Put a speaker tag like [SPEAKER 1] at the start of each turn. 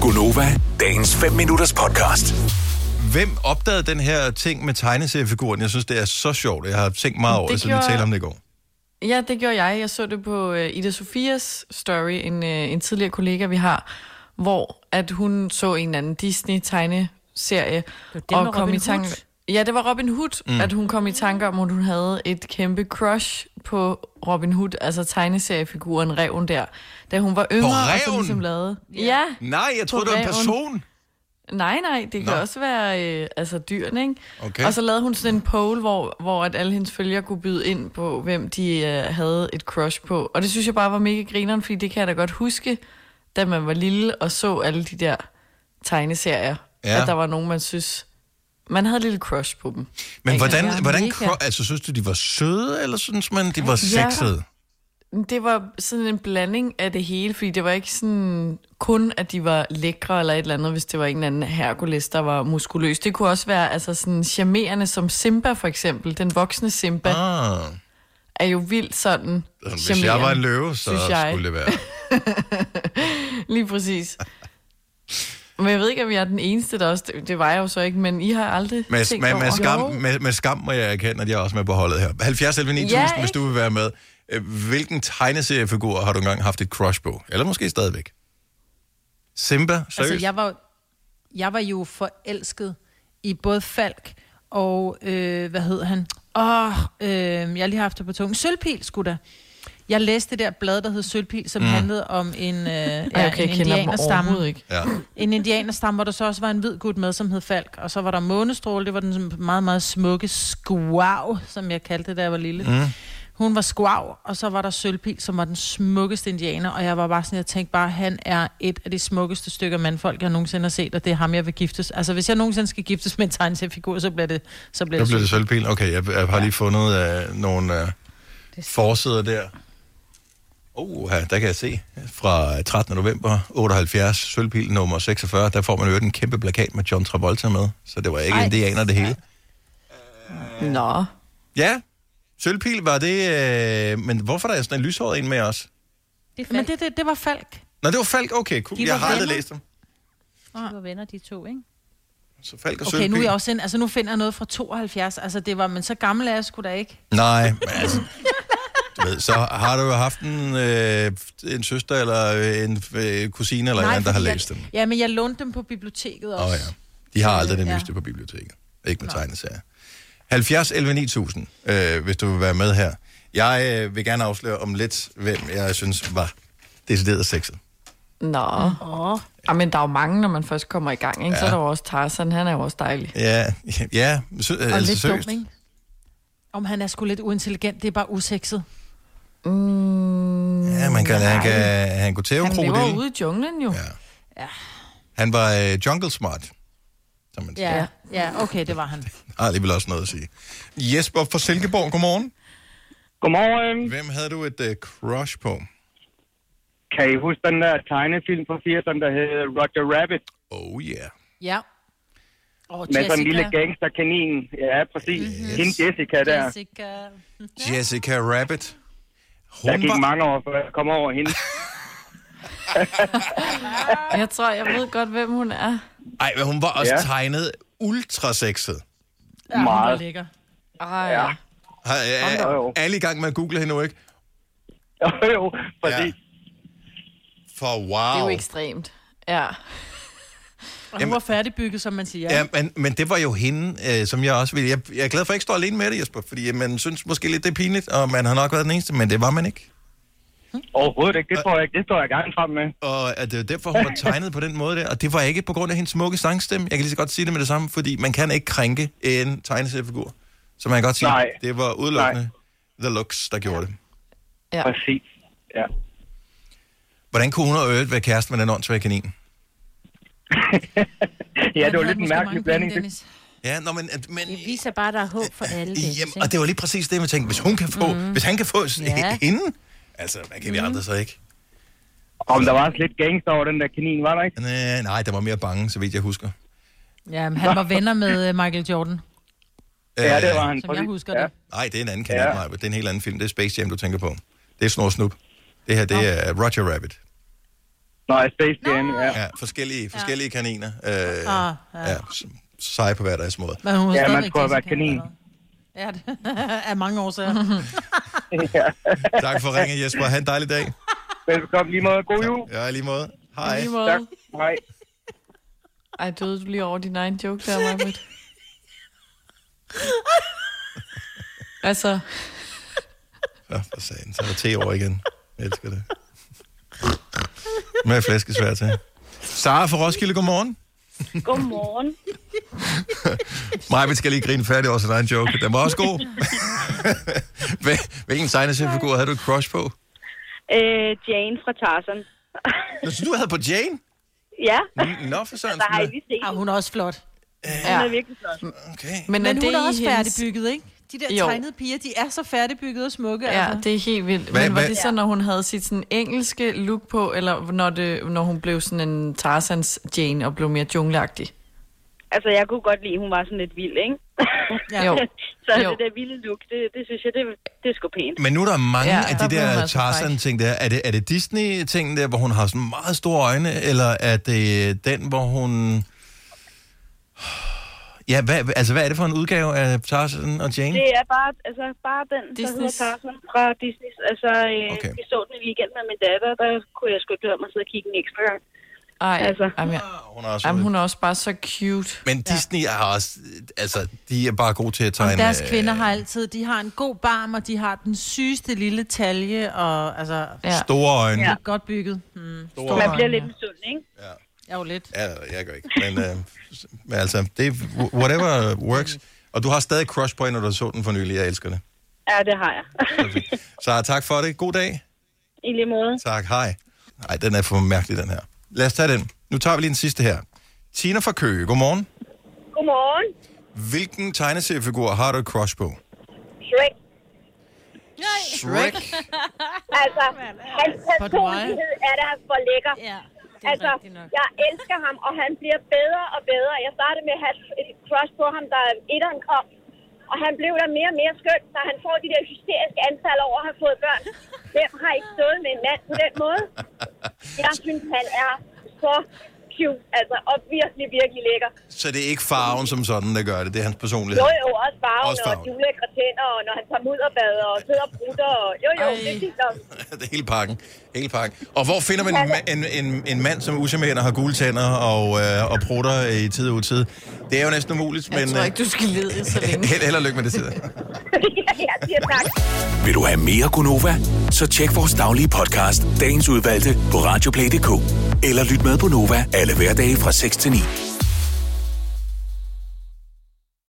[SPEAKER 1] Gunova, dagens 5 minutters podcast.
[SPEAKER 2] Hvem opdagede den her ting med tegneseriefiguren? Jeg synes, det er så sjovt. Jeg har tænkt meget over det,
[SPEAKER 3] Det
[SPEAKER 2] siden vi
[SPEAKER 3] gjorde-
[SPEAKER 2] talte om det i går.
[SPEAKER 3] Ja, det gjorde jeg. Jeg så det på øh, Ida Sofias story, en, øh, en tidligere kollega, vi har, hvor at hun så en eller anden Disney-tegneserie.
[SPEAKER 4] var det med Robin Hood.
[SPEAKER 3] Ja, det var Robin Hood, mm. at hun kom i tanke om, at hun havde et kæmpe crush på Robin Hood, altså tegneseriefiguren Reven der, da hun var yngre. Og så
[SPEAKER 2] Ræven?
[SPEAKER 3] ligesom lavede. Ja. ja.
[SPEAKER 2] Nej, jeg troede, det var en
[SPEAKER 3] ræven.
[SPEAKER 2] person.
[SPEAKER 3] Nej, nej, det kan
[SPEAKER 2] Nå.
[SPEAKER 3] også være øh, altså dyrene, ikke?
[SPEAKER 2] Okay.
[SPEAKER 3] Og så lavede hun sådan en poll, hvor, hvor at alle hendes følgere kunne byde ind på, hvem de øh, havde et crush på. Og det synes jeg bare var mega grineren, fordi det kan jeg da godt huske, da man var lille og så alle de der tegneserier,
[SPEAKER 2] Ja.
[SPEAKER 3] ja. at der var nogen, man synes, man havde et lille crush på dem.
[SPEAKER 2] Men
[SPEAKER 3] Ja,
[SPEAKER 2] hvordan,
[SPEAKER 3] ja,
[SPEAKER 2] hvordan
[SPEAKER 4] mega.
[SPEAKER 2] kro- altså, synes du, de var søde, eller synes man, de var
[SPEAKER 3] Ja.
[SPEAKER 2] sexede?
[SPEAKER 3] Det var sådan en blanding af det hele, fordi det var ikke sådan kun, at de var lækre eller et eller andet, hvis det var en eller anden Hercules, der var muskuløs. Det kunne også være altså sådan charmerende som Simba for eksempel. Den voksne Simba ah.
[SPEAKER 2] Ah,
[SPEAKER 3] er jo vildt sådan
[SPEAKER 2] hvis jeg
[SPEAKER 3] charmerende.
[SPEAKER 2] var en løve, så
[SPEAKER 3] synes jeg.
[SPEAKER 2] skulle det være.
[SPEAKER 3] Lige præcis. Men jeg ved ikke, om jeg er den eneste, der også... Det, det var jeg jo så ikke, men I har aldrig
[SPEAKER 2] Med,
[SPEAKER 3] tænkt
[SPEAKER 2] med,
[SPEAKER 3] over...
[SPEAKER 2] med, skam, med, med skam må jeg erkende, at jeg er også med på holdet her. 70 11 9000,
[SPEAKER 3] Ja,
[SPEAKER 2] hvis
[SPEAKER 3] ikke?
[SPEAKER 2] du vil være med. Øh, Hvilken tegneseriefigur har du engang haft et crush på? Eller måske stadigvæk? Simba? Seriøst?
[SPEAKER 4] Altså, jeg var, jo- jeg var jo forelsket i både Falk og, øh, hvad hed han? Åh, oh, øh, jeg har lige haft det på tungen. Sølvpil, skulle da. Jeg læste det der blad, der hed Sølvpil, som mm. handlede om en, øh, ja,
[SPEAKER 3] Ej, okay,
[SPEAKER 4] en
[SPEAKER 3] jeg kender dem overhovedet
[SPEAKER 4] indianerstamme.
[SPEAKER 3] ikke.
[SPEAKER 2] Ja.
[SPEAKER 4] En indianerstamme, hvor der så også var en hvid gut med, som hed Falk. Og så var der Månestråle, det var den meget, meget smukke skvav, som jeg kaldte det, da jeg var lille. Mm. Hun var skvav, og så var der Sølvpil, som var den smukkeste indianer. Og jeg var bare sådan, jeg tænkte bare, han er et af de smukkeste stykker mandfolk, jeg nogensinde har set, og det er ham, jeg vil giftes. Altså, hvis jeg nogensinde skal giftes med en tegneseriefigur, så bliver det, så bliver
[SPEAKER 2] Der
[SPEAKER 4] det,
[SPEAKER 2] blev det
[SPEAKER 4] Sølvpil.
[SPEAKER 2] sølvpil. Okay, jeg, jeg har lige fundet uh, nogle uh, forsider der. Oh, der kan jeg se. Fra 13. november 78, sølvpil nummer 46, der får man jo en kæmpe plakat med John Travolta med. Så det var ikke
[SPEAKER 4] Ej.
[SPEAKER 2] indianer det hele.
[SPEAKER 3] Nå,
[SPEAKER 2] Ja, sølvpil var det... Øh, men hvorfor er der sådan en lyshåret en med os?
[SPEAKER 5] Det er
[SPEAKER 4] Men
[SPEAKER 5] Men det,
[SPEAKER 4] det, det, det var Falk.
[SPEAKER 2] Nå, det var Falk. Okay, cool.
[SPEAKER 4] De
[SPEAKER 2] Jeg
[SPEAKER 4] var
[SPEAKER 2] har aldrig
[SPEAKER 4] venner.
[SPEAKER 2] læst dem.
[SPEAKER 5] de var venner, de to, ikke?
[SPEAKER 2] Så Falk og
[SPEAKER 4] Okay,
[SPEAKER 2] sølvpil.
[SPEAKER 4] nu er jeg også ind, altså nu finder jeg noget fra 72. Altså, det var, men så gammel er jeg sgu da ikke.
[SPEAKER 2] Nej, men altså... Du ved, så har du jo haft en, øh, en søster eller øh, en øh, kusine eller en anden, der har
[SPEAKER 4] fordi
[SPEAKER 2] læst dem.
[SPEAKER 4] jeg, Ja, men jeg lånte dem på biblioteket
[SPEAKER 2] Åh
[SPEAKER 4] også.
[SPEAKER 2] oh, ja. De har aldrig det
[SPEAKER 4] Ja.
[SPEAKER 2] nyeste på biblioteket. Ikke med tegneserier. 70 11 9000, øh, hvis du vil være med her. Jeg øh, vil gerne afsløre om lidt, hvem jeg synes var decideret sexet.
[SPEAKER 3] nå. Oh. Ja, men der er jo mange, når man først kommer i gang, ikke? Ja. Så er der jo også Tarzan, han er jo også dejlig.
[SPEAKER 2] Ja, ja sø, og altså,
[SPEAKER 4] lidt
[SPEAKER 2] seriøst.
[SPEAKER 4] dum, ikke? Om han er sgu lidt uintelligent, det er bare usekset.
[SPEAKER 2] Ja, man kan, han, kan, han kunne tæve en
[SPEAKER 3] Han lever
[SPEAKER 2] krokodil.
[SPEAKER 3] jo ude i junglen jo.
[SPEAKER 2] Ja. Han var øh, jungle smart, som man siger.
[SPEAKER 4] Ja, ja, okay, det var han.
[SPEAKER 2] Har alligevel også noget at sige. Jesper fra Silkeborg, godmorgen.
[SPEAKER 6] Godmorgen.
[SPEAKER 2] Hvem havde du et øh, crush på?
[SPEAKER 6] Kan I huske den der tegnefilm fra 80'erne, der hed Roger Rabbit?
[SPEAKER 2] Oh yeah.
[SPEAKER 4] Ja. Og
[SPEAKER 6] Med sådan en lille
[SPEAKER 4] Jessica.
[SPEAKER 6] gangsterkanin. Ja, præcis. Yes. Hende Jessica der.
[SPEAKER 4] Jessica.
[SPEAKER 2] Jessica Rabbit. Hun
[SPEAKER 6] Der gik
[SPEAKER 2] var-
[SPEAKER 6] mange år, før jeg kom over hende.
[SPEAKER 3] Jeg tror, jeg ved godt, hvem hun er.
[SPEAKER 2] Ej, men hun var også ja.
[SPEAKER 6] Ja.
[SPEAKER 2] tegnet ultrasexet.
[SPEAKER 4] Ja, hun var
[SPEAKER 6] Meget.
[SPEAKER 4] lækker.
[SPEAKER 3] Ej.
[SPEAKER 6] Ja.
[SPEAKER 3] Ja.
[SPEAKER 2] Har, er,
[SPEAKER 6] da op.
[SPEAKER 2] alle i gang med at google hende nu, ikke?
[SPEAKER 6] Jo, jo, præcis.
[SPEAKER 2] For wow.
[SPEAKER 3] Det er jo ekstremt. Ja.
[SPEAKER 4] Og hun
[SPEAKER 2] Jamen-
[SPEAKER 4] var færdigbygget, som man siger.
[SPEAKER 2] Ja, men, men det var jo hende, øh, som jeg også ville. Jeg, jeg er glad for, at jeg ikke står alene med det, Jesper, fordi øh, man synes måske lidt, det er pinligt, og man har nok været den eneste, men det var man ikke.
[SPEAKER 6] Overhovedet ikke. Det tror jeg ikke. Det står jeg gerne frem med.
[SPEAKER 2] Og at det var derfor, hun var tegnet på den måde der, og det var ikke på grund af hendes smukke sangstemme. Jeg kan lige så godt sige det med det samme, fordi man kan ikke krænke en tegneseriefigur. Så man kan godt sige,
[SPEAKER 6] Nej.
[SPEAKER 2] det var udelukkende The Looks, der gjorde det.
[SPEAKER 3] ja.
[SPEAKER 6] Præcis. Ja.
[SPEAKER 2] Hvordan kunne hun have øvet være kæreste med den åndsvage kanin?
[SPEAKER 6] ja, det
[SPEAKER 4] Han
[SPEAKER 6] var
[SPEAKER 4] havde
[SPEAKER 6] lidt en
[SPEAKER 4] måske
[SPEAKER 6] mærkelig
[SPEAKER 4] mange
[SPEAKER 6] blanding.
[SPEAKER 4] penge, Dennis.
[SPEAKER 2] Ja, nå, men, men
[SPEAKER 5] Det viser bare, der er håb for alle det.
[SPEAKER 2] Jamen, og det var lige præcis det, man tænkte, hvis hun kan få, mm. hvis han kan få sådan ja.
[SPEAKER 5] Ja. Mm.
[SPEAKER 2] hende, altså, hvad kan vi andre så ikke?
[SPEAKER 6] Om der var også lidt gangster over den der kanin, var der ikke?
[SPEAKER 2] Men, øh, nej, der var mere bange, så vidt jeg husker.
[SPEAKER 4] Jamen, han var venner med øh, Michael Jordan,
[SPEAKER 6] Ja, det var han.
[SPEAKER 4] som jeg
[SPEAKER 6] Præcis.
[SPEAKER 4] husker
[SPEAKER 6] ja.
[SPEAKER 4] det.
[SPEAKER 2] Øh, Nej, det er en anden kanal,
[SPEAKER 6] Ja.
[SPEAKER 2] ja. det er en helt anden film. Det er Space Jam, du tænker på. Det er Snor Snup. Det her, det er Roger Rabbit.
[SPEAKER 6] Nej, Space Jam, ja.
[SPEAKER 2] Ja, forskellige, forskellige ja. kaniner. Øh,
[SPEAKER 4] Ah, ja.
[SPEAKER 2] ja. s- Seje på hver deres måde.
[SPEAKER 4] Men hun var
[SPEAKER 6] Ja, man
[SPEAKER 4] stadigvæk
[SPEAKER 6] skulle have været
[SPEAKER 4] Jessica
[SPEAKER 6] kanin.
[SPEAKER 4] Alba. Ja, det er mange årsager. sager.
[SPEAKER 2] Tak for ringen, Jesper. Ha' en dejlig dag.
[SPEAKER 6] Velkommen lige måde. God jul.
[SPEAKER 2] Ja, i lige måde. Hej.
[SPEAKER 3] Lige
[SPEAKER 6] Tak.
[SPEAKER 3] måde.
[SPEAKER 6] Hej.
[SPEAKER 3] Ej, døde du lige over din egen joke der, Marvitt? altså,
[SPEAKER 2] Ja, for sagen. Så er der te over igen. Jeg elsker det. Med flæskesvær til. Sara fra Roskilde, godmorgen.
[SPEAKER 7] Godmorgen.
[SPEAKER 2] Maja, vi skal lige grine færdig over sin egen joke. Den var også god. Hvil- Hvilken tegneseriefigur havde du et crush på?
[SPEAKER 7] Øh, Jane fra Tarzan.
[SPEAKER 2] Nå, så du havde på Jane?
[SPEAKER 7] ja,
[SPEAKER 2] Nå, for sådan.
[SPEAKER 7] der har jeg lige set.
[SPEAKER 4] Ah,
[SPEAKER 7] hende.
[SPEAKER 4] hun er også flot.
[SPEAKER 7] Hun
[SPEAKER 3] ja.
[SPEAKER 7] er virkelig flot.
[SPEAKER 2] Okay.
[SPEAKER 3] Men, er
[SPEAKER 4] Men
[SPEAKER 3] det
[SPEAKER 4] hun er
[SPEAKER 3] i
[SPEAKER 4] også
[SPEAKER 3] hendes-
[SPEAKER 4] færdigbygget, ikke? De der
[SPEAKER 3] Jo.
[SPEAKER 4] tegnede piger, de er så færdigbygget og smukke.
[SPEAKER 3] Ja,
[SPEAKER 4] altså.
[SPEAKER 3] det er helt vildt.
[SPEAKER 2] Hvad-
[SPEAKER 3] Men var
[SPEAKER 2] hvad-
[SPEAKER 3] det så, når hun havde sit sådan engelske look på, eller når, det, når hun blev sådan en Tarzans Jane og blev mere jungleagtig?
[SPEAKER 7] Altså, jeg kunne godt lide, at hun var sådan lidt vild, ikke?
[SPEAKER 4] Ja.
[SPEAKER 3] Jo.
[SPEAKER 7] Så
[SPEAKER 3] Jo.
[SPEAKER 7] det der vilde look, det, det synes jeg, det, det er sgu pænt.
[SPEAKER 2] Men nu er der mange
[SPEAKER 3] Ja,
[SPEAKER 2] ja, af
[SPEAKER 3] der
[SPEAKER 2] de
[SPEAKER 3] blev hun
[SPEAKER 2] der
[SPEAKER 3] altså fræk.
[SPEAKER 2] Tarzan-ting der. Er det, er det Disney-ting der, hvor hun har sådan meget store øjne, eller er det den, hvor hun... Ja, hvad, altså, hvad er det for en udgave af Tarzan og Jane?
[SPEAKER 7] Det er bare, altså, bare den, der hedder
[SPEAKER 3] Disney's.
[SPEAKER 7] Tarzan fra Disney. Altså, øh,
[SPEAKER 2] Okay.
[SPEAKER 7] okay. vi så den i weekenden med min datter, der kunne jeg sgu ikke lade mig sidde og kigge en ekstra gang.
[SPEAKER 3] Ej, altså.
[SPEAKER 7] Altså.
[SPEAKER 3] jamen, jeg,
[SPEAKER 2] Ah, Hun er også
[SPEAKER 3] jamen, hun er også bare så cute.
[SPEAKER 2] Men Disney er også... Altså, de er bare gode til at tegne...
[SPEAKER 4] Deres
[SPEAKER 2] øh,
[SPEAKER 4] kvinder har altid, de har en god barm, og de har den sygeste lille talje, og altså,
[SPEAKER 3] Ja.
[SPEAKER 2] Store øjne. Ja.
[SPEAKER 7] Ja.
[SPEAKER 4] godt bygget. Mm.
[SPEAKER 2] Store
[SPEAKER 7] Man
[SPEAKER 2] øjne.
[SPEAKER 7] bliver lidt misund, ikke?
[SPEAKER 4] Jeg er jo lidt.
[SPEAKER 2] Ja, jeg gør ikke. Men, øh, s- men altså, det er whatever works. Og du har stadig crush på hende, når du så den for nylig. Jeg elsker det.
[SPEAKER 7] Ja, det har jeg.
[SPEAKER 2] Så tak for det. God dag.
[SPEAKER 7] I lige måde.
[SPEAKER 2] Tak, hej. Nej, den er for mærkelig, den her. Lad os tage den. Nu tager vi lige den sidste her. Tina fra Køge, godmorgen.
[SPEAKER 7] Godmorgen.
[SPEAKER 2] Hvilken tegneseriefigur har du et crush på?
[SPEAKER 7] Shrek.
[SPEAKER 2] Shrek.
[SPEAKER 7] Altså, hans
[SPEAKER 4] personlighed
[SPEAKER 7] er der for lækker.
[SPEAKER 5] Ja, det er
[SPEAKER 7] Altså,
[SPEAKER 5] rigtigt nok.
[SPEAKER 7] jeg elsker ham, og han bliver bedre og bedre. Jeg startede med at have et crush på ham, da etteren kom. Og han blev der mere og mere skøn, så han får de der hysteriske antal over at have fået børn. Hvem har ikke stået med en mand på den måde? Jeg synes, han er så cute, altså, og virkelig, virkelig lækker.
[SPEAKER 2] Så det er ikke farven som sådan, der gør det. Det er hans personlighed.
[SPEAKER 7] Jo, jo, også farven,
[SPEAKER 2] Også
[SPEAKER 7] også
[SPEAKER 2] farven.
[SPEAKER 7] og de ulækre tænder, og når han tager mudderbader og sidder og brutter. Og... Jo, jo, det er fint nok.
[SPEAKER 2] det er hele pakken. Hele pakken. Og hvor finder man en, ma- en, en, en mand, som er uschammerende, har gule tænder og, øh, og prutter i tid og utid? Det er jo næsten umuligt,
[SPEAKER 3] Jeg
[SPEAKER 2] men
[SPEAKER 3] tror ikke, du skal lede så længe.
[SPEAKER 2] øh, held, held og lykke med det til dig.
[SPEAKER 7] ja, ja, siger tak.
[SPEAKER 1] Vil du have mere Gunova? Så tjek vores daglige podcast, dagens udvalgte, på radioplay.dk. Eller lyt med på Nova alle hverdage fra 6 til 9.